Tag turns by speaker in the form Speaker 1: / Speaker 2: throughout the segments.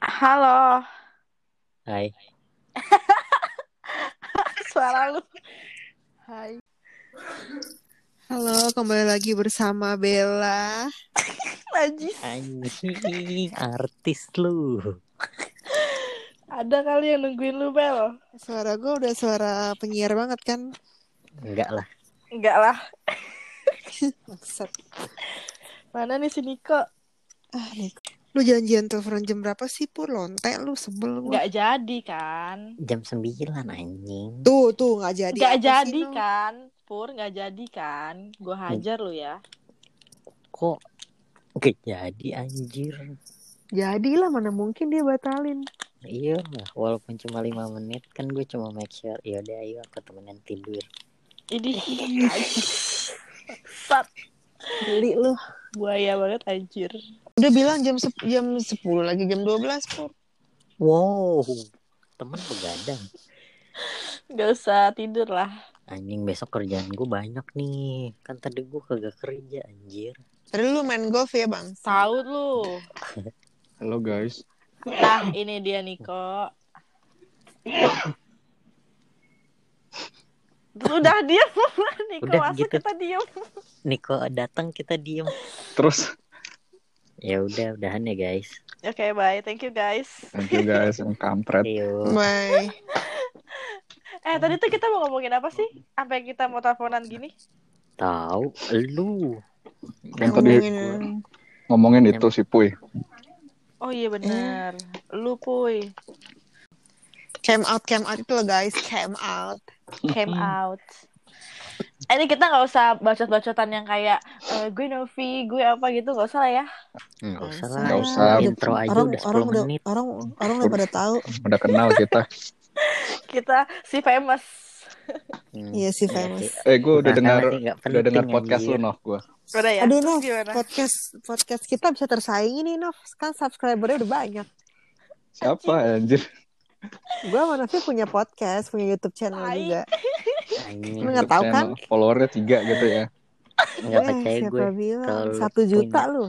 Speaker 1: Halo,
Speaker 2: Hai,
Speaker 1: suara lu. Hai.
Speaker 3: Halo, kembali lagi bersama Bella.
Speaker 1: Najis.
Speaker 2: anjing artis lu.
Speaker 1: Ada kali yang nungguin lu, Bel.
Speaker 3: Suara gue udah suara penyiar banget kan?
Speaker 2: Enggak lah.
Speaker 1: Enggak lah.
Speaker 3: Maksud.
Speaker 1: Mana nih si Niko?
Speaker 3: Ah, Niko. Lu janjian telepon jam berapa sih, Pur? Lonte lu sebel gua.
Speaker 1: Enggak jadi kan?
Speaker 2: Jam 9 anjing.
Speaker 3: Tuh, tuh nggak jadi.
Speaker 1: Enggak
Speaker 3: Apa sih
Speaker 1: jadi
Speaker 3: lu?
Speaker 1: kan? Pur, enggak jadi kan? Gua hajar lu ya.
Speaker 2: Kok enggak jadi anjir?
Speaker 3: Jadilah mana mungkin dia batalin.
Speaker 2: Iya, lah, walaupun cuma 5 menit kan gue cuma make sure yaudah ayo aku temenin tidur.
Speaker 1: Ini Sat.
Speaker 3: Beli lu.
Speaker 1: Buaya banget anjir.
Speaker 3: Udah bilang jam sep- jam 10 lagi jam 12, Pur.
Speaker 2: Wow, temen begadang.
Speaker 1: Enggak usah tidur lah.
Speaker 2: Anjing besok kerjaan gue banyak nih. Kan tadi gue kagak kerja anjir.
Speaker 3: Tadi lu main golf ya, Bang?
Speaker 1: Tahu lu.
Speaker 4: Halo guys,
Speaker 1: Nah, ini dia Niko. Udah diam Niko
Speaker 2: Udah,
Speaker 1: masuk
Speaker 2: gitu.
Speaker 1: kita diam.
Speaker 2: Niko datang kita diem.
Speaker 4: terus
Speaker 2: Ya udah, udahan ya guys.
Speaker 1: Oke, bye. Thank you guys.
Speaker 4: thank you guys yang kampret.
Speaker 2: Ayo.
Speaker 3: Bye.
Speaker 1: Eh, tadi tuh kita mau ngomongin apa sih? Sampai kita mau teleponan gini?
Speaker 2: Tahu lu.
Speaker 4: Yang tadi
Speaker 3: Ngomongin-
Speaker 4: ngomongin itu si Puy.
Speaker 1: Oh iya benar. Lu puy
Speaker 3: Came out, came out itu loh, guys. Came out.
Speaker 1: came out. Eh, Ini kita nggak usah bacot-bacotan yang kayak eh, gue Novi, gue apa gitu nggak usah lah ya.
Speaker 2: Enggak usah lah.
Speaker 4: Nggak usah.
Speaker 2: Intro aja
Speaker 3: orang,
Speaker 2: udah 10
Speaker 3: orang udah,
Speaker 2: menit.
Speaker 3: orang, orang udah pada tahu.
Speaker 4: Udah kenal kita.
Speaker 1: Kita si famous.
Speaker 2: Hmm.
Speaker 3: Iya sih,
Speaker 2: Iya
Speaker 3: famous.
Speaker 2: sih.
Speaker 4: Eh gue udah
Speaker 2: Bahkan
Speaker 4: dengar
Speaker 2: nanti nggak
Speaker 4: udah dengar
Speaker 2: penting, iya.
Speaker 4: podcast
Speaker 2: anjir.
Speaker 4: lu noh gue.
Speaker 1: Udah ya.
Speaker 3: Aduh,
Speaker 1: Terus
Speaker 3: Nov,
Speaker 1: gimana?
Speaker 3: podcast podcast kita bisa tersaingi nih, Nov. Kan subscribernya udah banyak.
Speaker 4: Siapa anjir?
Speaker 3: Gue sama Novi punya podcast, punya YouTube channel
Speaker 1: Hai.
Speaker 3: juga.
Speaker 2: Anjing,
Speaker 3: Lu nggak tahu kan?
Speaker 4: Channel Followernya tiga gitu ya.
Speaker 2: nggak
Speaker 3: Weh,
Speaker 2: percaya
Speaker 3: Eh, siapa
Speaker 2: gue.
Speaker 3: bilang?
Speaker 2: Kalau lu
Speaker 3: Satu juta lu.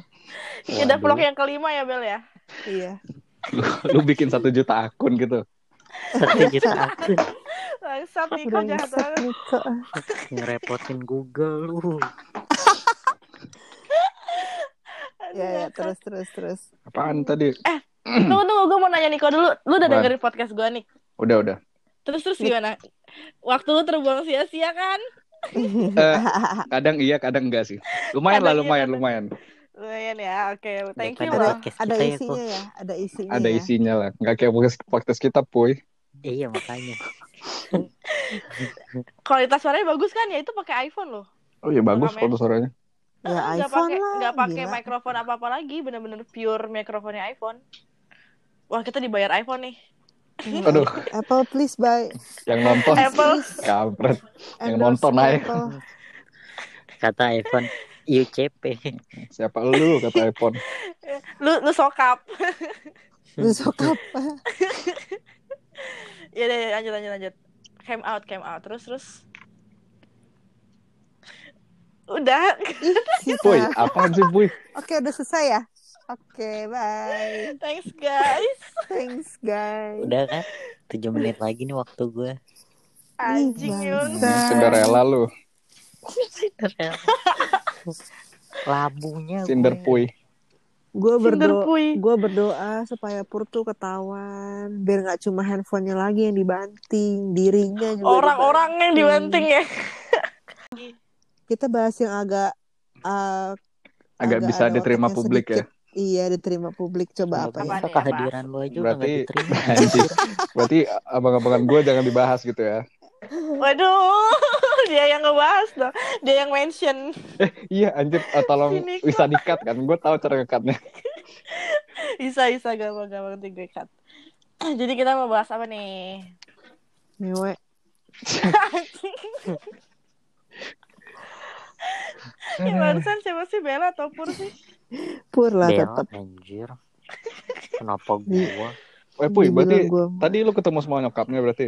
Speaker 1: Ya udah
Speaker 2: Waduh.
Speaker 1: vlog yang kelima ya Bel ya.
Speaker 3: Iya.
Speaker 4: Lu, lu bikin satu juta akun gitu.
Speaker 2: Satu juta akun
Speaker 1: Langsat Niko jahat
Speaker 3: Bangsat
Speaker 1: banget.
Speaker 3: nih kok.
Speaker 2: ngerepotin Google uh. lu.
Speaker 1: Aduh,
Speaker 3: Ya, ya,
Speaker 1: ngakak.
Speaker 3: terus terus terus.
Speaker 4: Apaan tadi?
Speaker 1: Tunggu tunggu gue mau nanya Niko dulu. Lu udah
Speaker 4: Apaan?
Speaker 1: dengerin podcast gue nih.
Speaker 4: Udah udah.
Speaker 1: Terus terus gimana? Waktu lu terbuang sia-sia kan?
Speaker 4: Eh, kadang iya kadang enggak sih. Lumayan
Speaker 1: Kadang iya,
Speaker 4: lah lumayan
Speaker 1: kadang-
Speaker 4: lumayan.
Speaker 1: Lumayan ya. Oke, thank you
Speaker 2: Daripada
Speaker 1: loh.
Speaker 2: podcast
Speaker 3: ada
Speaker 2: kita ya,
Speaker 3: isinya ya, ada isinya.
Speaker 4: Ada
Speaker 3: ya.
Speaker 4: isinya lah. Nggak kayak podcast- podcast kita Puy.
Speaker 2: kok. Iya makanya.
Speaker 1: kualitas suaranya bagus kan ya itu pakai iPhone loh
Speaker 4: Oh iya bagus
Speaker 1: Rame.
Speaker 4: kalau suaranya.
Speaker 3: Ya,
Speaker 1: Ah, nggak
Speaker 3: iPhone
Speaker 1: pakai
Speaker 3: lah,
Speaker 1: nggak pakai
Speaker 3: gila.
Speaker 1: mikrofon apa apa lagi bener-bener pure mikrofonnya iPhone wah kita dibayar iPhone nih
Speaker 3: Hmm.
Speaker 4: Aduh,
Speaker 3: Apple please buy.
Speaker 4: yang nonton
Speaker 1: Apple
Speaker 4: kampret. Yang
Speaker 3: endorse
Speaker 4: nonton aja.
Speaker 3: Apple.
Speaker 2: Kata iPhone UCP.
Speaker 4: Siapa lu kata iPhone?
Speaker 1: lu lu sokap
Speaker 3: Lu suka apa?
Speaker 1: ya udah, ya, lanjut lanjut lanjut came out came out terus terus udah
Speaker 3: Sisa.
Speaker 4: Puy, apaan sih Puy?
Speaker 3: Oke, udah selesai ya. Oke, bye.
Speaker 1: thanks guys
Speaker 3: Thanks guys.
Speaker 2: Udah kan? 7 menit lagi nih waktu gue.
Speaker 1: anjing yun
Speaker 3: bangsat.
Speaker 4: Hmm, Cinderella lu,
Speaker 2: Labunya gue.
Speaker 4: Cinder Puy.
Speaker 3: Gue berdoa
Speaker 1: Cinderpui
Speaker 3: Gue berdoa supaya Pur tuh ketahuan biar nggak cuma handphonenya lagi yang dibanting, dirinya juga.
Speaker 1: orang-orang yang dibanting ya
Speaker 3: dibanting. Kita bahas yang agak uh, Agak
Speaker 4: agak bisa
Speaker 3: ada
Speaker 4: diterima
Speaker 3: otaknya
Speaker 4: publik ya.
Speaker 3: iya diterima publik coba
Speaker 2: Semoga
Speaker 3: apa ya?
Speaker 1: Apaan
Speaker 2: besok
Speaker 1: ya,
Speaker 2: kehadiran lo aja udah
Speaker 4: Berarti-
Speaker 2: gak diterima.
Speaker 4: Anjir. Berarti abang-abangan gue jangan dibahas gitu ya.
Speaker 1: waduh dia yang ngebahas dong dia yang mention
Speaker 4: Iya anjir, eh, tolong
Speaker 1: Ini kok.
Speaker 4: bisa dikat kan. Gue tahu cara ngekatnya.
Speaker 1: bisa bisa gampang-gampang nanti gue cut. jadi kita mau bahas apa nih
Speaker 3: Ngewe.
Speaker 1: ya
Speaker 4: Eh,
Speaker 1: barusan siapa sih Bella atau Pur sih
Speaker 3: Pur lah
Speaker 4: Iya.
Speaker 2: Bel,
Speaker 3: tetap.
Speaker 2: anjir. Kenapa
Speaker 3: Iya.
Speaker 2: gue?
Speaker 4: Eh Puy, berarti
Speaker 3: gua,
Speaker 4: tadi lu ketemu sama nyokapnya berarti?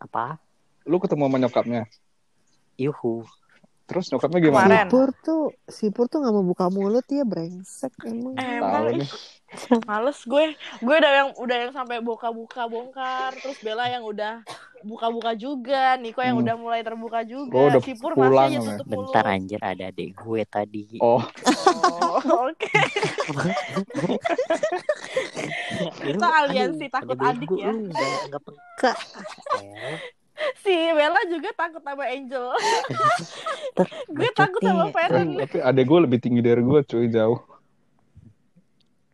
Speaker 2: Apa?
Speaker 4: Lu ketemu sama nyokapnya?
Speaker 2: Yuhu.
Speaker 4: Terus nyokapnya
Speaker 1: Kemarin.
Speaker 4: gimana?
Speaker 3: Pur tuh si Pur tuh nggak mau buka mulut ya brengsek emang.
Speaker 1: emang
Speaker 4: Tahu nih.
Speaker 1: ih, Eh, Males gue. Gue udah yang udah yang sampai buka-buka bongkar, terus Bella yang udah buka-buka juga, Niko yang
Speaker 4: Hmm.
Speaker 1: udah mulai terbuka juga,
Speaker 4: Gua udah
Speaker 1: si Pur masih aja
Speaker 4: pulang, Om, ya.
Speaker 1: tutup mulut.
Speaker 2: Bentar anjir ada adik gue tadi.
Speaker 4: Oh,
Speaker 1: Oh, Oke,
Speaker 2: Ya
Speaker 1: kita aliansi takut adik ya.
Speaker 2: Enggak enggak peka. Eh,
Speaker 1: Si Bella juga takut sama Angel.
Speaker 2: ter-
Speaker 1: Gue takut sama
Speaker 2: bacotnya.
Speaker 1: Feren.
Speaker 4: eh, tapi adek gue lebih tinggi dari gue cuy jauh.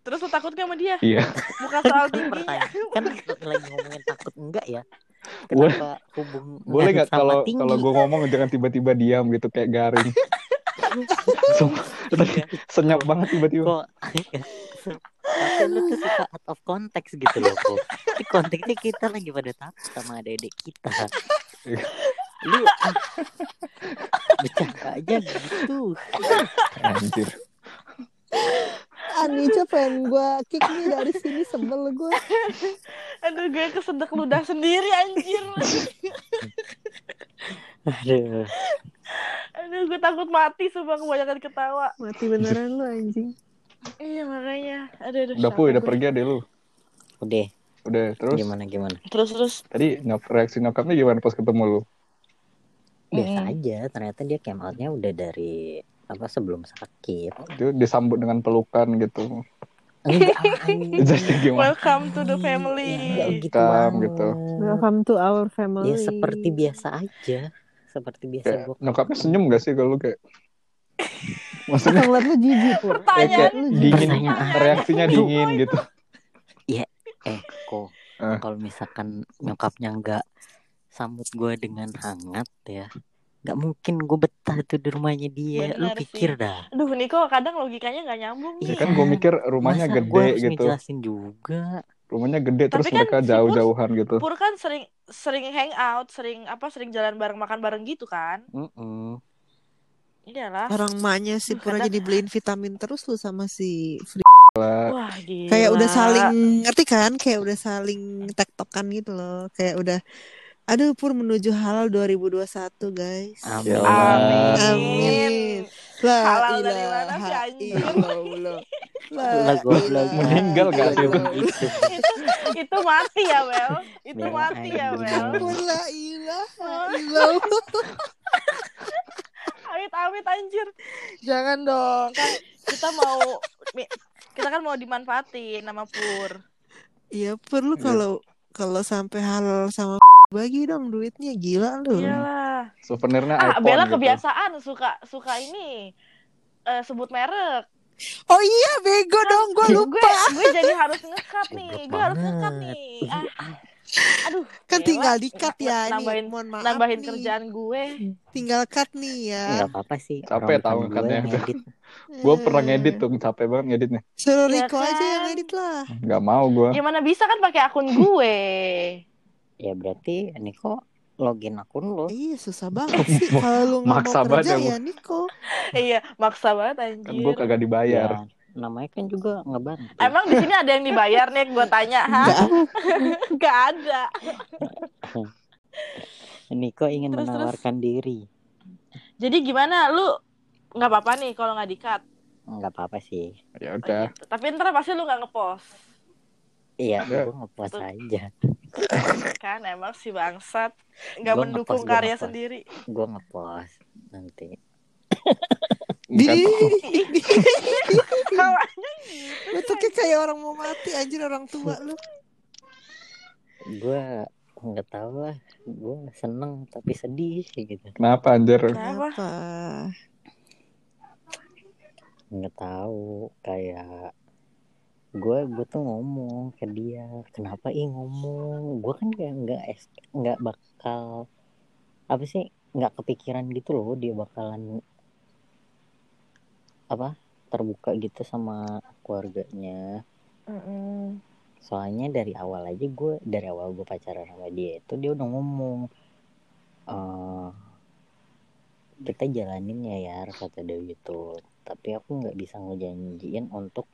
Speaker 1: Terus lu takut gak sama dia?
Speaker 4: Iya.
Speaker 1: Bukan soal
Speaker 2: Kan
Speaker 1: tingginya.
Speaker 2: pertanyaan- kan lagi ngomongin takut enggak ya?
Speaker 4: Boleh-
Speaker 2: Kenapa hubung
Speaker 4: Boleh nggak
Speaker 2: sama
Speaker 4: kalau
Speaker 2: tinggi?
Speaker 4: kalau gue ngomong jangan tiba-tiba diam gitu kayak garing. Sumpah, tadi senyap banget tiba-tiba.
Speaker 2: gitu ya? kok tapi lu tuh suka out of context gitu loh kok di konteksnya kita lagi pada takut sama adik-adik kita lu ah, bercanda aja gitu
Speaker 4: Anjir.
Speaker 3: Anica pengen gue kick nih dari sini sebel gue.
Speaker 1: Aduh, gue kesedek ludah sendiri anjir.
Speaker 2: aduh
Speaker 1: Aduh, gue takut mati sumpah kebanyakan ketawa.
Speaker 3: Mati beneran lu anjing.
Speaker 1: Iya, makanya. Aduh, aduh.
Speaker 4: Udah
Speaker 1: capek
Speaker 4: puy, udah
Speaker 1: gue.
Speaker 4: pergi adek lu.
Speaker 2: udah
Speaker 4: Udah, terus
Speaker 2: gimana gimana
Speaker 1: Terus terus
Speaker 4: tadi nyap, reaksi nyokapnya gimana pas ketemu lu?
Speaker 2: biasa
Speaker 1: Mm.
Speaker 2: aja ternyata dia came outnya udah dari apa sebelum sakit
Speaker 4: Dia disambut dengan pelukan gitu.
Speaker 2: enggak anjing.
Speaker 4: Jadi gimana?
Speaker 1: welcome to
Speaker 4: Iya,
Speaker 1: the
Speaker 2: Enggak
Speaker 1: family.
Speaker 2: gitu
Speaker 4: Welcome,
Speaker 2: banget.
Speaker 4: gitu.
Speaker 3: Welcome to our family.
Speaker 2: ya seperti biasa aja seperti biasa
Speaker 4: Kayak
Speaker 2: gua
Speaker 4: nyokapnya senyum gak sih kalau lu kayak maksudnya
Speaker 3: Kita ngeliat lu jijik pur.
Speaker 4: kayak, kayak
Speaker 1: Pertanyaan
Speaker 3: Lu
Speaker 4: dingin
Speaker 2: Pertanyaan.
Speaker 4: reaksinya dingin gitu
Speaker 2: eh kok
Speaker 4: Eh.
Speaker 2: kalau misalkan nyokapnya nggak sambut gue dengan hangat ya nggak mungkin gue betah tuh di rumahnya dia lu
Speaker 1: Bener
Speaker 2: pikir dah
Speaker 1: Aduh, Niko kadang logikanya nggak nyambung
Speaker 4: ya
Speaker 1: nih.
Speaker 4: iya. kan gue mikir rumahnya
Speaker 2: Masa gua
Speaker 4: gede
Speaker 2: harus
Speaker 4: gitu
Speaker 2: ngejelasin juga
Speaker 4: rumahnya gede
Speaker 1: Tapi
Speaker 4: terus
Speaker 1: kan
Speaker 4: mereka
Speaker 1: si
Speaker 4: jauh-jauhan gitu
Speaker 1: Pur kan sering sering hangout, sering apa sering jalan bareng makan bareng gitu kan?
Speaker 2: Mm-mm.
Speaker 1: Iyalah.
Speaker 3: Orang maknya si Pur aja dibeliin vitamin terus lu sama si Fri.
Speaker 1: Wah, gila.
Speaker 3: Kayak udah saling ngerti kan? Kayak udah saling tektokan gitu loh. Kayak udah aduh Pur menuju halal 2021 guys.
Speaker 2: Amin.
Speaker 4: Ya
Speaker 1: Amin.
Speaker 3: Amin. La
Speaker 1: Halal dari
Speaker 3: ilaha
Speaker 1: mana sih, anjing?
Speaker 3: illallah. La
Speaker 2: Lah, gua
Speaker 3: ilaha
Speaker 2: belum-
Speaker 4: Meninggal gak sih, Pur?
Speaker 3: illallah.
Speaker 2: Gitu.
Speaker 1: itu, itu mati ya, Bel. Itu
Speaker 3: Iya,
Speaker 2: Bel,
Speaker 1: mati ya,
Speaker 2: ayo.
Speaker 1: Bel.
Speaker 3: Pur, la ilaha illallah.
Speaker 1: Amit amit anjir. Jangan dong. Kan kita mau mi- kita kan mau dimanfaatin nama Pur.
Speaker 3: Iya perlu
Speaker 4: Iya.
Speaker 3: kalau kalau sampai halal sama bagi dong duitnya gila lu.
Speaker 1: Iya. Iyalah.
Speaker 4: souvenirnya
Speaker 1: Ah,
Speaker 4: iPhone
Speaker 1: Bella
Speaker 4: gitu.
Speaker 1: kebiasaan suka suka ini eh, sebut merek.
Speaker 3: Oh iya bego dong gua
Speaker 1: Gue-
Speaker 3: lupa.
Speaker 1: Gue, jadi harus ngekat nih.
Speaker 2: Goblok
Speaker 1: Gue harus
Speaker 2: banget.
Speaker 1: ngekat nih. Ah, aduh.
Speaker 3: Kan
Speaker 1: Bella,
Speaker 3: tinggal dikat ya ini.
Speaker 1: Iya. Nambahin
Speaker 3: Mohon maaf
Speaker 1: nambahin
Speaker 3: nih.
Speaker 1: kerjaan gue.
Speaker 3: Tinggal cut nih ya. Eh,
Speaker 2: nggak apa-apa sih
Speaker 4: Capek tau
Speaker 2: Orang
Speaker 4: katanya.
Speaker 2: gua ngedit.
Speaker 4: gue Iya, pernah ngedit tuh capek banget ngeditnya
Speaker 3: Suruh
Speaker 1: Ya
Speaker 3: Riko aja yang
Speaker 1: kan?
Speaker 3: edit lah.
Speaker 4: nggak mau gue
Speaker 1: Ya mana bisa kan pakai akun gue.
Speaker 2: ya berarti Niko login akun lo
Speaker 3: Iya susah banget sih kalau lu nggak
Speaker 4: Maksa
Speaker 3: mau kerja
Speaker 4: banget
Speaker 3: ya
Speaker 4: ya,
Speaker 3: Niko.
Speaker 1: iya, maksa banget
Speaker 4: kan gue
Speaker 1: anjir.
Speaker 4: kagak dibayar
Speaker 2: ya namanya kan juga ngebantu
Speaker 1: Emang di sini ada yang dibayar nih gue tanya, ha? Gak ada.
Speaker 2: Niko ingin
Speaker 1: Terus, terus.
Speaker 2: menawarkan diri
Speaker 1: Jadi gimana lu nggak apa-apa nih kalau nggak dikat.
Speaker 2: nggak apa-apa sih
Speaker 1: Iya.
Speaker 4: ya udah
Speaker 1: Tapi ntar pasti lu nggak ngepost.
Speaker 2: iya
Speaker 4: Ya.
Speaker 2: gue ngepost aja
Speaker 1: Kan emang si bangsat nggak
Speaker 2: Gua
Speaker 1: mendukung
Speaker 2: ngepost, gua
Speaker 1: karya
Speaker 2: ngepost.
Speaker 1: sendiri.
Speaker 2: gue ngepost nanti
Speaker 3: Di
Speaker 4: Bukan-
Speaker 1: Kalau
Speaker 3: lu tuh kayak- kayak orang mau mati anjir orang tua lu.
Speaker 2: gue nggak tahu lah gue seneng tapi sedih gitu
Speaker 4: kenapa anjir
Speaker 1: Kenapa?
Speaker 3: Kenapa?
Speaker 2: nggak tahu kayak gue gue tuh ngomong ke dia kenapa ih ngomong gue kan nggak nggak es- nggak bakal apa sih nggak kepikiran gitu loh dia bakalan apa terbuka gitu sama keluarganya
Speaker 1: Mm-mm.
Speaker 2: soalnya dari awal aja gue dari awal gue pacaran sama dia itu dia udah ngomong eh kita jalanin ya ya kata dia gitu tapi aku nggak bisa ngejanjiin untuk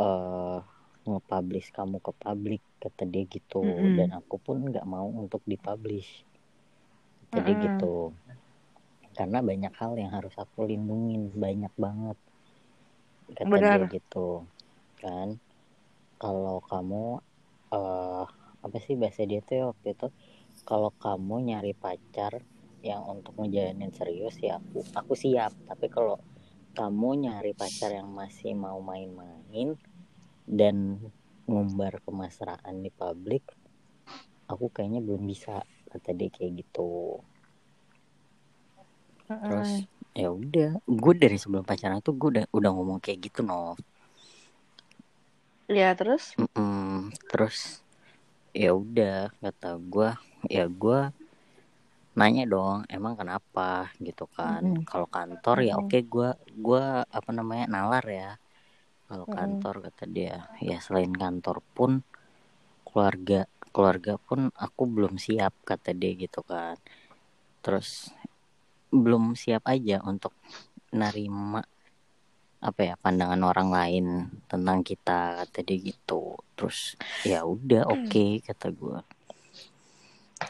Speaker 2: eh nge-publish kamu ke publik kata dia gitu
Speaker 3: Mm-mm.
Speaker 2: dan aku pun nggak mau untuk dipublish kata dia
Speaker 1: Mm-mm.
Speaker 2: gitu karena banyak hal yang harus aku lindungin banyak banget kata
Speaker 1: Benar.
Speaker 2: dia gitu kan kalau kamu eh apa sih bahasa dia tuh waktu itu kalau kamu nyari pacar yang untuk ngejalanin serius ya aku aku siap tapi kalau kamu nyari pacar yang masih mau main-main dan ngumbar kemesraan di publik aku kayaknya belum bisa kata dia kayak gitu terus ya udah gue dari sebelum pacaran tuh gue udah udah ngomong kayak gitu no
Speaker 1: Ya terus?
Speaker 2: Mm-mm. terus ya udah kata gua ya gua nanya dong emang kenapa gitu kan
Speaker 1: Mm-mm.
Speaker 2: kalau kantor ya
Speaker 1: Mm-mm.
Speaker 2: oke gua gua apa namanya nalar ya kalau
Speaker 1: Mm-mm.
Speaker 2: kantor kata dia ya selain kantor pun keluarga keluarga pun aku belum siap kata dia gitu kan terus belum siap aja untuk nerima apa ya pandangan orang lain tentang kita kata dia gitu terus ya udah
Speaker 1: Mm.
Speaker 2: oke kata gua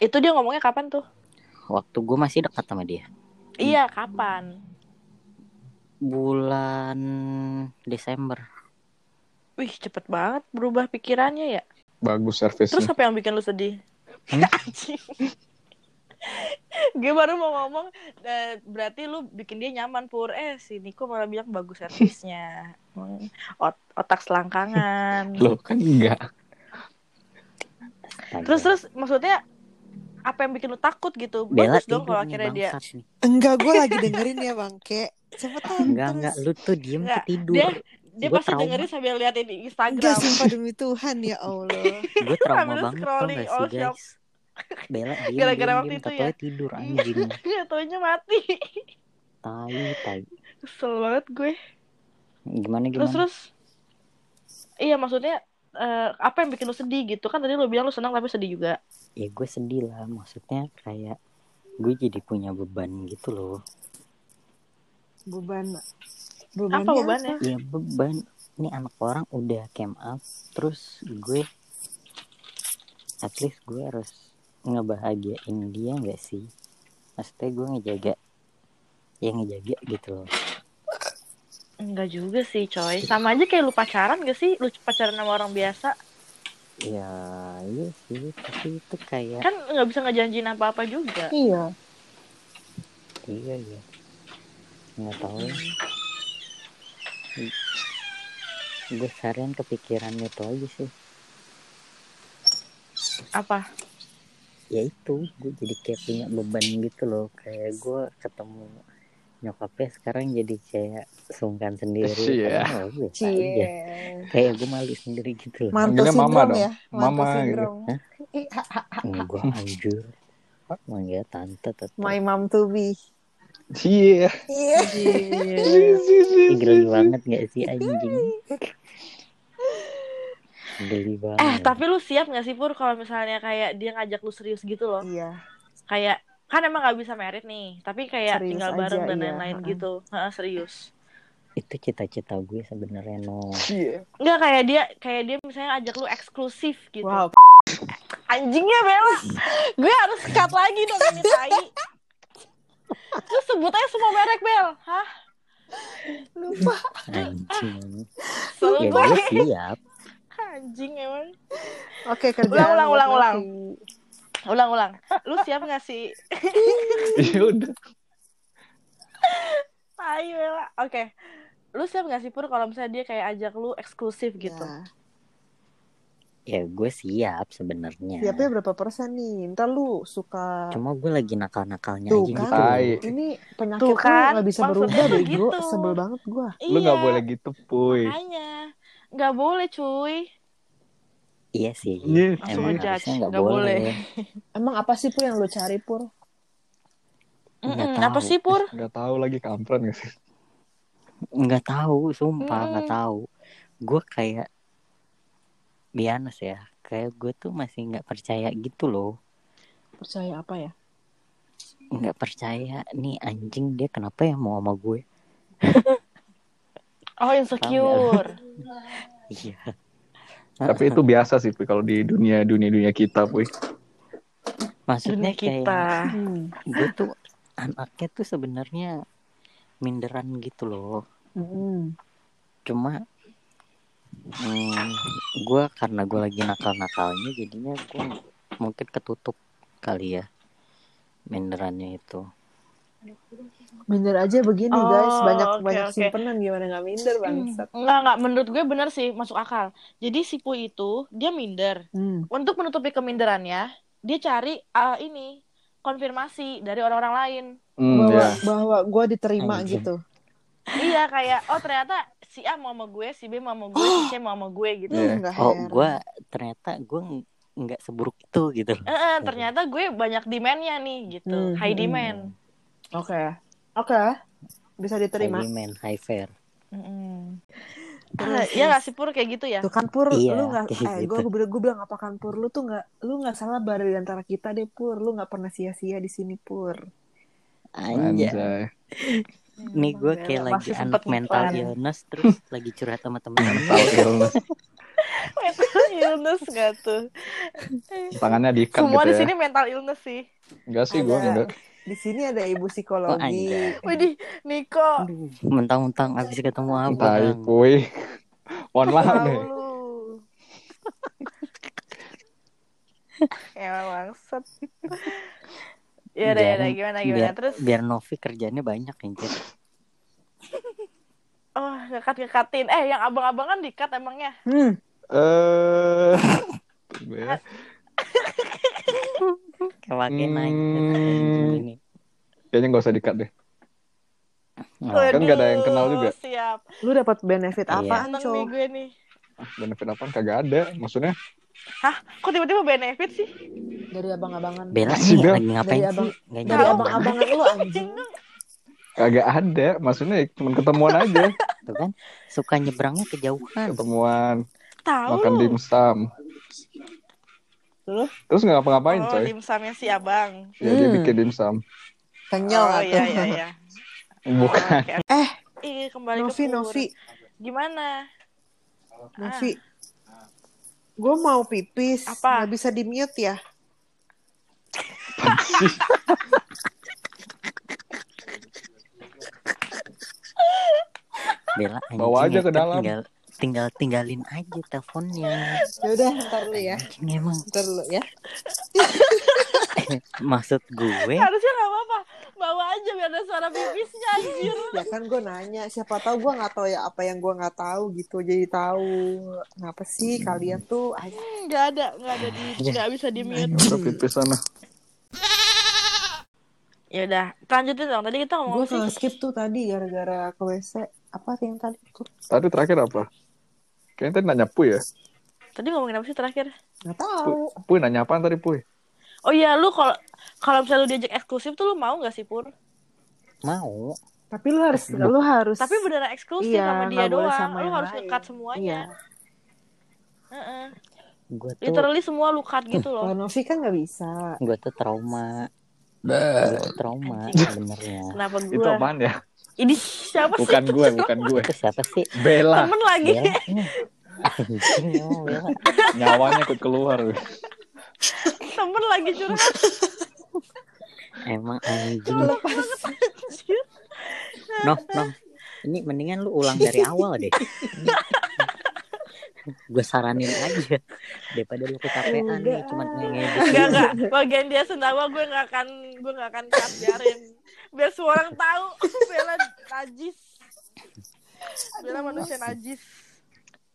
Speaker 1: Itu dia ngomongnya kapan tuh?
Speaker 2: waktu gua masih dekat sama dia
Speaker 1: Iya kapan?
Speaker 2: bulan Desember
Speaker 1: Wih cepet banget berubah pikirannya ya.
Speaker 4: Bagus
Speaker 1: Terus
Speaker 4: servisnya.
Speaker 1: apa yang bikin lu sedih?
Speaker 4: Hmm?
Speaker 1: Anjing. Gue baru mau ngomong eh, Berarti lu bikin dia nyaman Pur Eh si Niko malah bilang bagus servisnya Hmm, ot- Otak selangkangan
Speaker 4: Loh kan enggak.
Speaker 2: Astaga.
Speaker 1: Terus terus maksudnya Apa yang bikin lu takut gitu
Speaker 2: Bella
Speaker 1: Bagus dong
Speaker 2: tidur
Speaker 1: kalau
Speaker 2: nih,
Speaker 1: akhirnya dia
Speaker 2: bangsat nih.
Speaker 3: Enggak, gue lagi dengerin ya bangke. Siapa tahu
Speaker 2: enggak
Speaker 3: terus.
Speaker 2: enggak lu tuh diem
Speaker 1: Enggak,
Speaker 2: ketidur
Speaker 1: Dia dia
Speaker 2: Gua
Speaker 1: pasti
Speaker 2: trauma.
Speaker 1: dengerin sambil liatin di
Speaker 3: Enggak,
Speaker 1: Instagram
Speaker 3: sumpah demi Tuhan ya Allah.
Speaker 2: gue trauma
Speaker 1: Sambil lu
Speaker 2: banget tau
Speaker 1: scrolling
Speaker 2: gak
Speaker 1: all
Speaker 2: sih
Speaker 1: shop.
Speaker 2: guys Bella diem
Speaker 1: Gara-gara
Speaker 2: diem
Speaker 1: waktu
Speaker 2: diem
Speaker 1: itu
Speaker 2: katanya
Speaker 1: ya.
Speaker 2: tidur anjing
Speaker 1: Iya Taunya mati
Speaker 2: tai tai
Speaker 1: Kesel banget gue
Speaker 2: gimana
Speaker 1: Terus
Speaker 2: gimana
Speaker 1: terus Iya maksudnya eh, apa yang bikin lu sedih gitu kan tadi lu bilang lu senang tapi sedih juga
Speaker 2: ya gue sedih lah maksudnya kayak gue jadi punya beban gitu loh
Speaker 3: Beban.
Speaker 1: apa bebannya
Speaker 2: ya beban ini anak orang udah came up terus gue at least gue harus ngebahagiain dia nggak sih maksudnya gue ngejaga ya ngejaga gitu loh
Speaker 1: Enggak juga sih coy Sama aja kayak lu pacaran gak sih Lu pacaran sama orang biasa
Speaker 2: ya iya sih tapi itu kayak
Speaker 1: Kan nggak bisa ngejanjiin apa-apa juga
Speaker 2: iya iya iya nggak tahu ya. gue seharian kepikiran itu aja sih
Speaker 1: Apa?
Speaker 2: ya itu gue jadi kayak punya beban gitu loh kayak gue ketemu nyokapnya sekarang jadi kayak sungkan sendiri
Speaker 4: Iya.
Speaker 2: Padahal gue biasa aja. kayak gue malu sendiri gitu loh
Speaker 3: Mantul
Speaker 4: Manggilnya mama
Speaker 3: sindrom ya. Mantul sindrom.
Speaker 4: dong. Mama gitu.
Speaker 3: Ih, ha, ha,
Speaker 2: gue anjur manggil tante tetep
Speaker 3: My mom to be.
Speaker 4: Iya.
Speaker 3: Iya.
Speaker 1: Anjir.
Speaker 2: Ih, geli banget gak sih anjing geli banget
Speaker 1: eh tapi lu siap gak sih Pur kalau misalnya kayak dia ngajak lu serius gitu loh
Speaker 3: Iya.
Speaker 1: Kayak kan emang nggak bisa merit nih Tapi kayak
Speaker 3: Serius
Speaker 1: tinggal
Speaker 3: aja,
Speaker 1: bareng dan
Speaker 3: iya,
Speaker 1: lain-lain
Speaker 3: ha-ha.
Speaker 1: gitu Heeh, Serius
Speaker 2: itu cita-cita gue sebenarnya no
Speaker 4: Iya.
Speaker 1: Enggak kayak dia kayak dia misalnya ajak lu eksklusif gitu
Speaker 3: Wow.
Speaker 1: Anjingnya Bella Gue harus cut lagi dong ini tai Lu sebut aja semua merek Bel Hah?
Speaker 3: Lupa.
Speaker 2: anjing
Speaker 3: Iya,
Speaker 1: Selalu
Speaker 2: ya
Speaker 1: gue
Speaker 2: gue siap
Speaker 1: Anjing emang
Speaker 3: Oke, kerjaan.
Speaker 1: Ulang, ulang,
Speaker 3: buat
Speaker 1: ulang, ulang.
Speaker 3: nanti.
Speaker 1: Ulang-ulang Lu siap gak sih?
Speaker 4: Ya udah.
Speaker 1: Tai Bella Oke Lu siap gak sih Pur kalau misalnya dia kayak ajak lu eksklusif gitu
Speaker 3: Ya.
Speaker 2: ya gue siap sebenarnya
Speaker 3: Siapnya berapa persen nih? Ntar lu suka
Speaker 2: Ya. cuma gue lagi nakal-nakalnya
Speaker 3: Tuh
Speaker 2: aja
Speaker 3: kan.
Speaker 2: gitu loh.
Speaker 4: Tai.
Speaker 3: ini penyakit
Speaker 1: Tuh
Speaker 3: tuh
Speaker 1: kan,
Speaker 3: gak bisa
Speaker 1: maksud
Speaker 3: berubah
Speaker 1: gue
Speaker 3: bego.
Speaker 1: gitu.
Speaker 3: Sebel banget gua.
Speaker 4: Lu nggak boleh gitu, puy.
Speaker 1: Iya, Makanya Gak boleh cuy
Speaker 2: Iya sih.
Speaker 4: Iya.
Speaker 1: Langsung
Speaker 2: Emang
Speaker 1: ngejudge.
Speaker 2: harusnya nggak
Speaker 1: Nggak
Speaker 2: boleh.
Speaker 1: boleh.
Speaker 3: Emang apa sih pur yang lu cari pur?
Speaker 1: Mm-mm,
Speaker 2: Nggak
Speaker 1: Apa
Speaker 2: tahu.
Speaker 1: sih Pur?
Speaker 4: Nggak tahu lagi kampret nggak sih?
Speaker 2: Nggak tahu, sumpah nggak
Speaker 1: Mm-mm.
Speaker 2: tahu. Gue kayak Bianes ya. Kayak gue tuh masih nggak percaya gitu loh.
Speaker 3: Percaya apa ya?
Speaker 2: Nggak percaya nih anjing dia kenapa ya mau sama gue?
Speaker 1: Oh insecure
Speaker 2: Iya.
Speaker 4: Tapi itu biasa sih, Puy, kalau di dunia dunia dunia kita, puy.
Speaker 2: Maksudnya
Speaker 1: Dunia
Speaker 2: kayak
Speaker 1: kita
Speaker 3: Hmm.
Speaker 2: gue tuh anaknya tuh sebenarnya minderan gitu loh.
Speaker 3: Hmm.
Speaker 2: Cuma hmm, gue karena gue lagi nakal-nakalnya jadinya gue mungkin ketutup kali ya minderannya itu
Speaker 3: Minder aja begini
Speaker 1: Oh,
Speaker 3: guys, banyak
Speaker 1: oke,
Speaker 3: banyak
Speaker 1: oke. Hmm.
Speaker 3: simpenan gimana nggak minder bangsat.
Speaker 1: Enggak, enggak. Mm. Menurut gue bener sih, masuk akal. Jadi si Puy itu, dia minder.
Speaker 3: Hmm.
Speaker 1: Untuk menutupi keminderannya, dia cari ah, ini, konfirmasi dari orang-orang lain.
Speaker 4: Hmm,
Speaker 3: Bahwa
Speaker 4: ya.
Speaker 3: bahwa gue diterima
Speaker 2: Anjing.
Speaker 3: gitu.
Speaker 1: iya, kayak, oh ternyata si A mau sama gue, si B mau sama gue, si C mau sama gue gitu.
Speaker 4: Iya.
Speaker 3: Nggak
Speaker 2: oh
Speaker 3: heran.
Speaker 2: gue ternyata gue ng- nggak seburuk itu gitu
Speaker 1: Eh, eh, ternyata gue banyak demand-nya nih gitu.
Speaker 3: Hmm,
Speaker 1: High
Speaker 3: hmm.
Speaker 1: demand.
Speaker 3: Oke. Oke. Bisa diterima.
Speaker 2: high demand high fair
Speaker 1: Mm-mm. Iya
Speaker 3: Terus, terus.
Speaker 1: nggak sih Pur kayak gitu ya?
Speaker 3: Tuh kan Pur,
Speaker 2: Iya,
Speaker 3: lu nggak
Speaker 2: kayak
Speaker 3: eh
Speaker 2: gitu.
Speaker 3: gue bilang gue bilang apa kan Pur, lu tuh nggak lu nggak salah baru di antara kita deh Pur, lu nggak pernah sia-sia di sini Pur.
Speaker 2: anjay
Speaker 4: Anjay.
Speaker 2: Nih gue kayak
Speaker 1: Gila,
Speaker 2: lagi
Speaker 1: masih
Speaker 2: anak
Speaker 1: sempet
Speaker 2: mental
Speaker 1: ngiklan.
Speaker 2: illness terus lagi curhat sama temen-temen.
Speaker 4: Mental illness.
Speaker 1: Mental illness nggak tuh?
Speaker 4: Tangannya diikat
Speaker 1: Semua di
Speaker 4: gitu ya.
Speaker 1: sini mental illness sih.
Speaker 4: Enggak sih gue
Speaker 3: Ada.
Speaker 4: enggak.
Speaker 3: Di sini ada
Speaker 2: Oh
Speaker 3: ibu psikologi.
Speaker 2: anjay.
Speaker 1: Widih, Niko,
Speaker 2: Aduh, mentang-mentang abis ketemu apa
Speaker 4: Tai
Speaker 2: Bang.
Speaker 4: kuy. Mohon maaf
Speaker 1: tahu
Speaker 4: nih.
Speaker 1: lu. Emang bangsat. Ya udah, ya udah,
Speaker 2: Biarin-
Speaker 1: gimana gimana
Speaker 2: Biar,
Speaker 1: terus?
Speaker 2: biar Novi kerjanya banyak anjir.
Speaker 1: Oh, ngekat ngekatin. Eh, yang abang-abang kan dikat emangnya.
Speaker 3: Hmm.
Speaker 4: Eh.
Speaker 2: Kewake naik
Speaker 4: Hmm.
Speaker 2: ini.
Speaker 4: Kayaknya nggak usah dikat deh.
Speaker 2: Nah,
Speaker 4: Kan nggak ada yang
Speaker 1: Waduh,
Speaker 4: kenal juga.
Speaker 1: Siap.
Speaker 3: Lu dapat benefit
Speaker 2: Iya.
Speaker 3: apaan,
Speaker 1: Seneng nih
Speaker 3: Cok?
Speaker 1: gue nih.
Speaker 4: Benefit apa kagak ada. Maksudnya
Speaker 1: Kok tiba-tiba benefit sih?
Speaker 3: Dari abang-abangan.
Speaker 2: Bela
Speaker 4: Masih
Speaker 2: nih
Speaker 4: dah.
Speaker 2: lagi ngapain
Speaker 3: Dari
Speaker 2: sih?
Speaker 3: abang-
Speaker 2: Nggak
Speaker 3: Dari
Speaker 2: nyambung.
Speaker 3: abang-abangan lu anjing.
Speaker 4: kagak ada. Maksudnya cuma ketemuan aja.
Speaker 2: Tuh kan suka nyebrangnya kejauhan.
Speaker 4: Ketemuan
Speaker 1: Tahu.
Speaker 4: makan
Speaker 1: lu.
Speaker 4: dimsum.
Speaker 3: Terus?
Speaker 4: Terus nggak ngapa-ngapain
Speaker 1: Oh,
Speaker 4: coy.
Speaker 1: dimsumnya si abang.
Speaker 4: Ya dia
Speaker 3: Hmm.
Speaker 4: bikin dimsum.
Speaker 3: Kenyal
Speaker 1: oh,
Speaker 3: atau
Speaker 1: iya, iya, iya.
Speaker 4: Bukan.
Speaker 3: Eh,
Speaker 1: Iya, kembali
Speaker 3: Novi,
Speaker 1: ke Pur.
Speaker 3: Novi,
Speaker 1: Gimana? Ah.
Speaker 3: Novi. Gue mau pipis.
Speaker 1: Apa?
Speaker 3: Nggak bisa di-mute ya?
Speaker 2: Bela anjing. ya,
Speaker 4: Bawa aja ke dalam.
Speaker 2: Tinggal tinggal tinggalin aja teleponnya.
Speaker 3: Ya udah, ntar lu ya.
Speaker 2: Anjing emang
Speaker 3: Ntar lu ya.
Speaker 2: maksud
Speaker 4: Eh?
Speaker 2: gue
Speaker 1: Harusnya gak apa-apa. Bawa aja biar ada suara pipisnya, anjir.
Speaker 3: Ya kan gue nanya, siapa tahu gue nggak tahu ya apa yang gue nggak tahu gitu. Jadi tahu. Kenapa sih kalian tuh anjing.
Speaker 1: Gak ada, gak ada di, gak bisa di mute.
Speaker 4: Udah pipis sana.
Speaker 1: Ya udah, lanjutin dong. Tadi kita ngomong
Speaker 3: Gue
Speaker 1: sih.
Speaker 3: skip tuh tadi gara-gara ke WC. Apa sih yang tadi? Gue
Speaker 4: Tadi terakhir apa? Kayaknya tadi nanya Puy ya.
Speaker 1: Tadi ngomongin apa sih terakhir?
Speaker 3: nggak tahu.
Speaker 4: Puy nanya apaan tadi Puy?
Speaker 1: Oh iya, lu kalau kalau misalnya lu diajak eksklusif tuh lu mau gak sih, Pur?
Speaker 2: mau
Speaker 3: Tapi lu harus, lu harus.
Speaker 1: Tapi beneran eksklusif
Speaker 3: Iya,
Speaker 1: sama dia
Speaker 3: nggak boleh
Speaker 1: doang.
Speaker 3: sama
Speaker 1: lu
Speaker 3: yang
Speaker 1: harus
Speaker 3: lain.
Speaker 1: ngekat semuanya.
Speaker 3: Iya.
Speaker 1: Heeh.
Speaker 2: gue tuh
Speaker 1: Literally semua lu cut gitu loh.
Speaker 3: Kalau Novi kan nggak bisa.
Speaker 2: gue tuh trauma
Speaker 4: Nah.
Speaker 2: gue tuh trauma sebenarnya
Speaker 1: Kenapa
Speaker 4: Itu
Speaker 1: gue?
Speaker 4: apaan ya?
Speaker 1: Ini siapa sih?
Speaker 4: Bukan gue, bukan ya. gue.
Speaker 2: itu siapa sih
Speaker 4: Bella.
Speaker 1: Temen lagi.
Speaker 2: Bella ini. anjing emang Bella
Speaker 4: Nyawanya ikut keluar.
Speaker 1: Temen lagi curhat.
Speaker 2: emang anjing no no ini mendingan lu ulang dari awal deh gue saranin aja daripada lu kecapean nih cuma
Speaker 1: Enggak,
Speaker 2: ngedit
Speaker 1: enggak. Bagian dia sendawa gue gak akan, gue gak akan cut. Biarin. Biar semua orang tahu Bella najis. Bella manusia najis.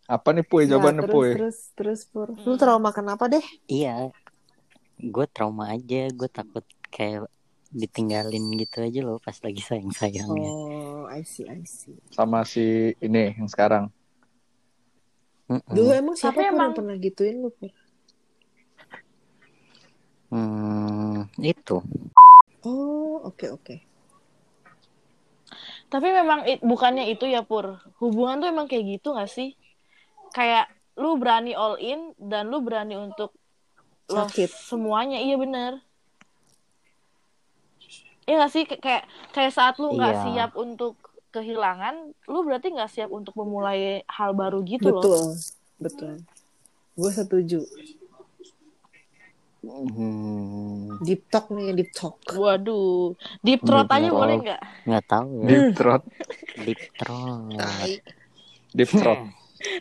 Speaker 4: Apa nih Puy?
Speaker 3: Nah,
Speaker 4: Jawabannya
Speaker 3: terus,
Speaker 4: Puy.
Speaker 2: ya.
Speaker 3: terus terus pur.
Speaker 1: Hmm.
Speaker 3: Lu trauma kenapa deh?
Speaker 2: iya gue trauma aja gue takut kayak ditinggalin gitu aja loh pas lagi sayang sayangnya
Speaker 3: Oh, I see, I see.
Speaker 4: Sama si ini yang sekarang.
Speaker 3: Dulu emang siapa
Speaker 1: Tapi
Speaker 3: Pur,
Speaker 1: emang-
Speaker 3: yang pernah gituin lu? Pur?
Speaker 2: Hmm, itu
Speaker 3: Oh, oke oke.
Speaker 1: Tapi memang i- bukannya itu ya Pur. Hubungan tuh emang kayak gitu gak sih? Kayak lu berani all in dan lu berani untuk lo
Speaker 3: Sakit.
Speaker 1: semuanya. Iya bener. Iya gak sih Kay- kayak kayak saat lu nggak
Speaker 2: Iya.
Speaker 1: siap untuk kehilangan, lu berarti nggak siap untuk memulai hal baru gitu loh.
Speaker 3: Betul, betul. Gue setuju.
Speaker 2: hmm,
Speaker 3: Deep talk nih, deep talk.
Speaker 1: Waduh, deep throat
Speaker 4: Bener,
Speaker 1: aja
Speaker 4: bener.
Speaker 1: boleh nggak?
Speaker 2: nggak tahu ya.
Speaker 4: Deep throat.
Speaker 2: Deep throat.
Speaker 3: Tai.
Speaker 4: Deep throat.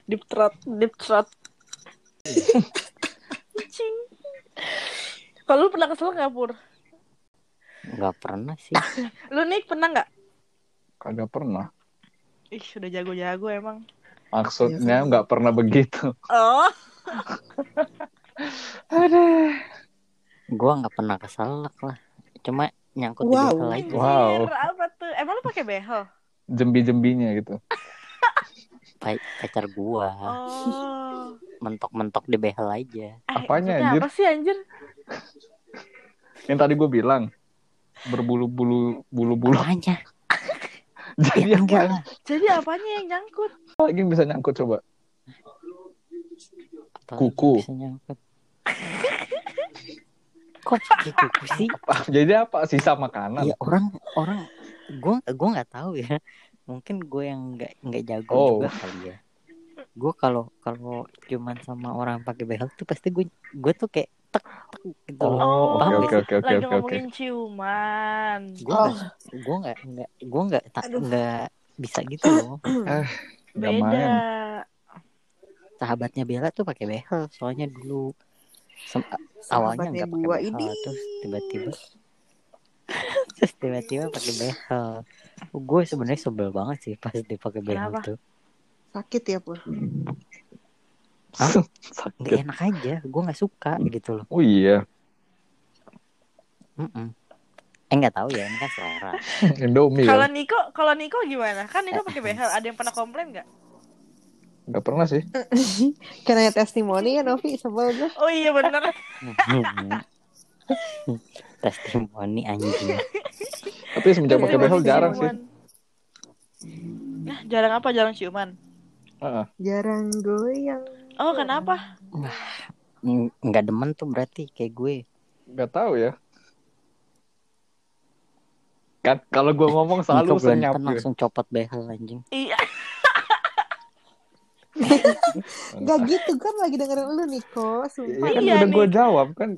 Speaker 1: Deep throat, deep throat. Kucing. Kalau lu pernah kesel nggak pur?
Speaker 2: nggak pernah sih
Speaker 1: Lu nih pernah nggak?
Speaker 4: Kagak pernah.
Speaker 1: Ih, sudah jago-jago emang.
Speaker 4: Maksudnya nggak pernah begitu.
Speaker 1: Oh,
Speaker 2: gua nggak pernah keselak lah cuma nyangkut di
Speaker 5: Wow.
Speaker 2: behel aja
Speaker 4: Wow.
Speaker 1: anjir, apa tuh? Emang lu pakai behel?
Speaker 4: Jembi-jembinya gitu.
Speaker 2: Pa- pacar gua
Speaker 1: Oh.
Speaker 2: mentok-mentok di behel aja
Speaker 1: Eh, maksudnya
Speaker 4: Apanya, anjir?
Speaker 1: Apa sih anjir?
Speaker 4: Yang tadi gue bilang berbulu-bulu bulu-bulu.
Speaker 2: apanya
Speaker 4: Jadi
Speaker 2: ya
Speaker 4: yang
Speaker 2: enggak lah
Speaker 1: Jadi apanya yang nyangkut?
Speaker 4: lagi yang bisa nyangkut coba?
Speaker 2: Apa
Speaker 4: Kuku.
Speaker 2: bisa nyangkut? kok pakai kuku sih
Speaker 4: Apa- Ah, Jadi apa sisa makanan?
Speaker 2: ya orang orang gua gua nggak tahu ya mungkin gue yang nggak nggak jago
Speaker 4: Oh.
Speaker 2: juga kali ya gue kalau kalau cuman sama orang pakai behel tuh pasti gue gue tuh kayak tek tek gitu loh
Speaker 4: Oh, oke
Speaker 2: Bagus.
Speaker 4: oke oke oke
Speaker 1: Lagi
Speaker 4: oke oke.
Speaker 1: ngomongin ciuman.
Speaker 2: gue
Speaker 5: Oh.
Speaker 2: nggak gue nggak nggak gue nggak tak
Speaker 5: Aduh.
Speaker 2: nggak bisa gitu loh
Speaker 4: Nggak
Speaker 1: Beda.
Speaker 4: main.
Speaker 2: sahabatnya Bella tuh pakai behel soalnya dulu sem- awalnya
Speaker 5: Sahabatnya
Speaker 2: nggak pakai
Speaker 5: gua
Speaker 2: behel
Speaker 5: ini.
Speaker 2: terus tiba-tiba terus tiba-tiba pakai behel gue sebenarnya sebel banget sih pas dia pakai behel
Speaker 1: Kenapa?
Speaker 2: tuh
Speaker 5: Sakit ya, Pur?
Speaker 2: nggak
Speaker 4: Sakit.
Speaker 2: enak aja gue nggak suka gitu loh
Speaker 4: Oh iya,
Speaker 2: Mm-mm. eh nggak tahu ya ini kan selera
Speaker 4: Indomie
Speaker 1: Kalau
Speaker 4: ya.
Speaker 1: Niko, kalau Niko gimana? Kan Niko pakai behel. Ada yang pernah komplain nggak?
Speaker 4: Gak pernah sih.
Speaker 5: Can I testimony ya, Novi? Sebel gue.
Speaker 1: Oh iya benar.
Speaker 2: testimoni anjing
Speaker 4: Tapi semenjak pakai behel jarang sih.
Speaker 1: Nah, jarang apa? Jarang ciuman.
Speaker 4: Heeh.
Speaker 5: Jarang goyang.
Speaker 1: Oh, kenapa?
Speaker 2: Mm, nggak demen tuh berarti kayak gue
Speaker 4: Gak tahu ya. Kan kalau gue ngomong selalu
Speaker 2: Niko berantem
Speaker 4: senyap. gitu.
Speaker 2: langsung copot behel anjing
Speaker 1: Iya.
Speaker 5: Gak gitu, kan lagi dengerin lu, Niko.
Speaker 4: Iya
Speaker 5: Sumpah.
Speaker 4: kan
Speaker 1: Iya
Speaker 4: udah
Speaker 1: nih.
Speaker 4: gue jawab kan.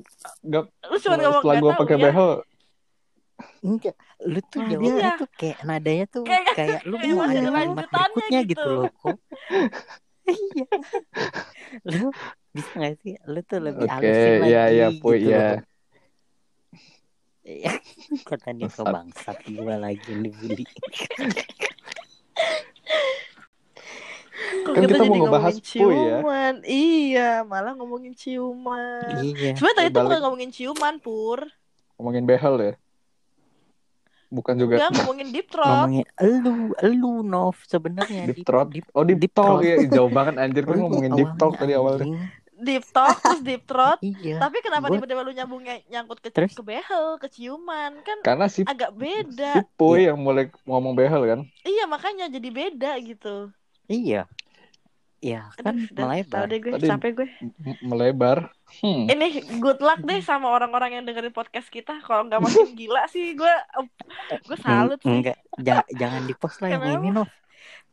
Speaker 4: Gak,
Speaker 1: Lu cuma ngomong
Speaker 4: setelah
Speaker 1: nggak
Speaker 4: gue
Speaker 1: tahu
Speaker 4: pakai
Speaker 1: ya.
Speaker 4: behel,
Speaker 2: Enggak, lu tuh
Speaker 5: Nah,
Speaker 2: jawabnya
Speaker 1: dia-
Speaker 2: tuh kayak nadanya tuh
Speaker 1: iya. Kayak-
Speaker 2: kayak, lu
Speaker 1: kayak
Speaker 2: mau
Speaker 5: masih
Speaker 2: ada
Speaker 5: ada
Speaker 2: kalimat
Speaker 1: lanjutannya
Speaker 2: berikutnya gitu,
Speaker 1: gitu.
Speaker 2: loh kok. iya. Lu bisa gak sih? Lu tuh lebih
Speaker 4: Oke,
Speaker 2: halusin lagi
Speaker 4: iya, iya, Puy,
Speaker 2: gitu
Speaker 4: iya.
Speaker 2: loh. Iya. Kata Niko
Speaker 4: Bangsat.
Speaker 2: bangsat gua lagi yang
Speaker 1: Iya.
Speaker 2: dibully.
Speaker 1: Kok
Speaker 4: Kan kita
Speaker 1: jadi
Speaker 4: mau ngebahas
Speaker 1: ngomongin
Speaker 4: Puy ya.
Speaker 1: ciuman. Iya, malah ngomongin ciuman.
Speaker 2: iya.
Speaker 1: Sebenernya tadi tuh
Speaker 4: Balik.
Speaker 1: bukan ngomongin ciuman, Pur.
Speaker 4: ngomongin behel ya. Bukan juga
Speaker 1: Enggak ngomongin deep throat.
Speaker 2: Ngomongin elu, elu Nov sebenarnya
Speaker 4: deep throat. Oh deep,
Speaker 2: Deep throat.
Speaker 4: talk ya, jauh banget anjir. Gue
Speaker 2: Lu
Speaker 4: ngomongin deep
Speaker 2: awalnya,
Speaker 4: talk tadi awalnya.
Speaker 2: anjing.
Speaker 1: Deep talk terus deep throat.
Speaker 2: Iya.
Speaker 1: Tapi kenapa
Speaker 2: Gua-
Speaker 1: tiba-tiba lu nyambungnya nyangkut ke,
Speaker 2: Terus?
Speaker 1: ke behel, ke ciuman? Kan
Speaker 4: Karena si,
Speaker 1: agak
Speaker 4: si
Speaker 1: beda.
Speaker 4: Puy yang mulai ngomong behel kan.
Speaker 1: Iya, makanya jadi beda gitu.
Speaker 2: Iya. Ya kan
Speaker 1: Aduh, udah tau
Speaker 2: melebar.
Speaker 1: deh gue,
Speaker 4: Tadi-
Speaker 1: capek gue.
Speaker 4: M- melebar.
Speaker 2: Iya.
Speaker 4: Hmm.
Speaker 1: Ini good luck deh sama orang-orang yang dengerin podcast kita. Kalau nggak makin gila sih, gue gue salut
Speaker 2: Eng-
Speaker 1: sih.
Speaker 2: Enggak, jangan jangan dipost lah yang
Speaker 1: Kenapa?
Speaker 2: ini Nov.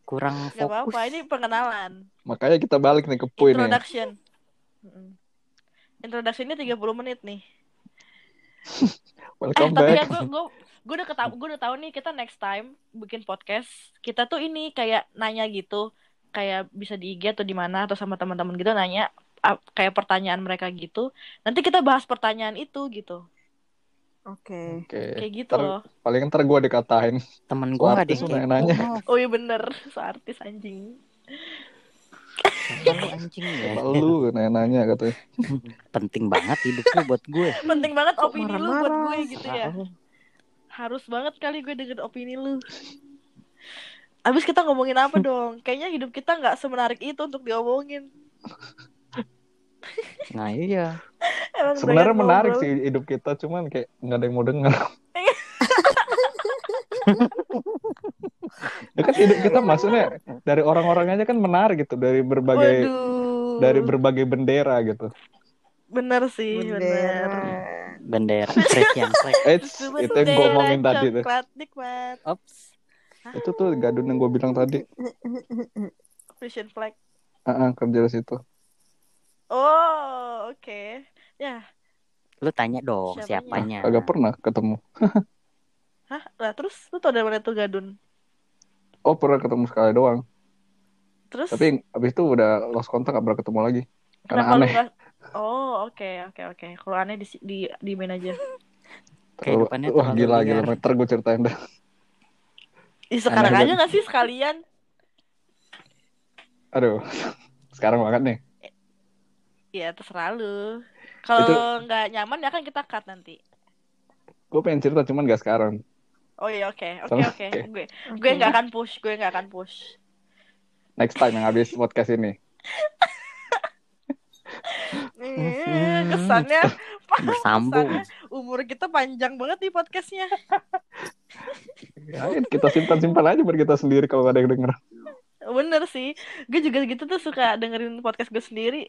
Speaker 2: Kurang
Speaker 1: Gak apa-apa,
Speaker 2: fokus. ya.
Speaker 1: ini pengenalan.
Speaker 4: Makanya kita balik nih ke ya. Puy nih.
Speaker 1: Introduction. Mm-mm. Introductionnya 30 menit nih. Eh,
Speaker 4: Welcome
Speaker 1: tapi ya
Speaker 4: back.
Speaker 1: gue gue gue udah ketau gue udah tahu nih kita next time bikin podcast kita tuh ini kayak nanya gitu kayak bisa di IG atau di mana atau sama teman-teman gitu nanya ap- kayak pertanyaan mereka gitu nanti kita bahas pertanyaan itu gitu
Speaker 5: Oke.
Speaker 4: Oke.
Speaker 1: kayak gitu
Speaker 4: Ter-
Speaker 1: loh
Speaker 4: Paling ntar gue dikatain.
Speaker 2: Temen gue gak ada
Speaker 4: Artis
Speaker 2: yang
Speaker 4: udah
Speaker 2: kayak
Speaker 4: nanya.
Speaker 2: "Oh, Nov,
Speaker 1: oh iya bener seartis anjing
Speaker 2: kenapa lu anjing ya.
Speaker 4: Lu nanya-nanya katanya.
Speaker 2: Penting banget hidup lu buat gue.
Speaker 1: penting banget opini lu buat
Speaker 5: marah-marah?
Speaker 1: gue gitu ya harus banget kali gue denger opini lu abis kita ngomongin apa dong kayaknya hidup kita nggak semenarik itu untuk diomongin
Speaker 2: Nah iya.
Speaker 1: Emang banyak
Speaker 4: Sebenarnya menarik
Speaker 1: ngobrol.
Speaker 4: sih hidup kita, cuman kayak nggak ada yang mau dengar. ya kan hidup kita maksudnya dari orang-orang aja kan menarik gitu dari berbagai
Speaker 1: Waduh.
Speaker 4: dari berbagai bendera gitu.
Speaker 1: Bener sih, bener.
Speaker 5: Bendera.
Speaker 2: Bendera Trek yang trek.
Speaker 4: Eh, itu yang gue omongin tadi tuh.
Speaker 1: Coklat nikmat.
Speaker 2: Ops.
Speaker 4: Itu tuh gadun yang gue bilang tadi.
Speaker 1: Fashion flag.
Speaker 4: Ah, ah, kerja di situ.
Speaker 1: Oh, oke. Ya,
Speaker 2: Lu tanya dong
Speaker 1: Siapanya?
Speaker 2: siapanya.
Speaker 4: Agak pernah ketemu.
Speaker 1: Hah? Lah terus lu tau dari mana tuh gadun?
Speaker 4: Oh pernah ketemu sekali doang.
Speaker 1: Terus
Speaker 4: Tapi abis itu udah lost kontak gak pernah ketemu lagi. Karena
Speaker 1: Kenapa lu
Speaker 4: aneh.
Speaker 1: nggak- Oh, oke, oke, oke. Kalau aneh di di di main aja.
Speaker 4: Terlalu,
Speaker 2: Kehidupannya
Speaker 4: wah
Speaker 2: terlalu
Speaker 4: gila gila.
Speaker 2: liar.
Speaker 4: Ntar gue ceritain dah.
Speaker 1: Ih, sekarang
Speaker 4: Aneh
Speaker 1: aja
Speaker 4: banget.
Speaker 1: nggak sih sekalian?
Speaker 4: Aduh. Sekarang banget nih.
Speaker 1: Ya terserah lu.
Speaker 4: Itu-
Speaker 1: Kalau nggak nyaman ya kan kita cut nanti.
Speaker 4: Gue pengen cerita cuman gak sekarang.
Speaker 1: Oh iya oke oke
Speaker 4: Sama-
Speaker 1: oke.
Speaker 4: oke.
Speaker 1: Gue gue nggak akan push, gue nggak akan push.
Speaker 4: Next time yang habis podcast ini. Hmm.
Speaker 1: Eh, Kesannya
Speaker 2: Bersambung.
Speaker 1: kesannya Umur kita panjang banget nih podcastnya.
Speaker 4: Ya, kita simpan-simpan aja biar kita sendiri kalau ada yang denger.
Speaker 1: Bener sih. Gue juga gitu tuh suka dengerin podcast gue sendiri.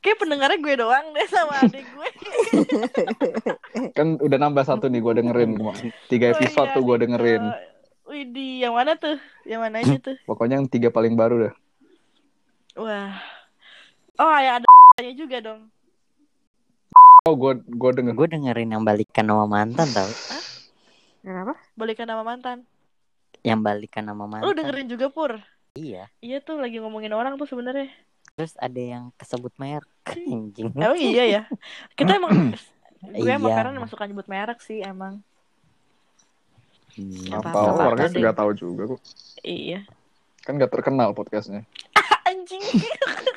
Speaker 1: Kayak pendengarnya gue doang deh sama adik gue.
Speaker 4: Kan udah nambah satu nih gue dengerin.
Speaker 1: Iya. Oh,
Speaker 4: Tiga episode tuh gue dengerin.
Speaker 1: Widih, yang mana tuh? Yang mana aja tuh?
Speaker 4: Pokoknya yang tiga paling baru dah.
Speaker 1: Wah. Oh, ya ada nya juga dong.
Speaker 4: Oh gue gue denger.
Speaker 2: Gue dengerin yang balikan sama mantan tau
Speaker 5: Kenapa?
Speaker 1: Balikan nama mantan.
Speaker 2: Yang balikan sama mantan
Speaker 1: Lu dengerin juga Pur?
Speaker 2: Iya
Speaker 1: Iya tuh lagi ngomongin orang tuh sebenarnya.
Speaker 2: Terus ada yang kesebut merek Anjing
Speaker 1: Emang iya ya. Kita emang gue emang
Speaker 2: Iya.
Speaker 1: karena masuk nyebut merek sih emang.
Speaker 2: Iya.
Speaker 1: Apa-apa,
Speaker 4: Apa orangnya
Speaker 1: apa-apa.
Speaker 4: nggak tahu juga kok.
Speaker 1: Iya.
Speaker 4: Kan gak terkenal podcastnya.
Speaker 1: Anjing.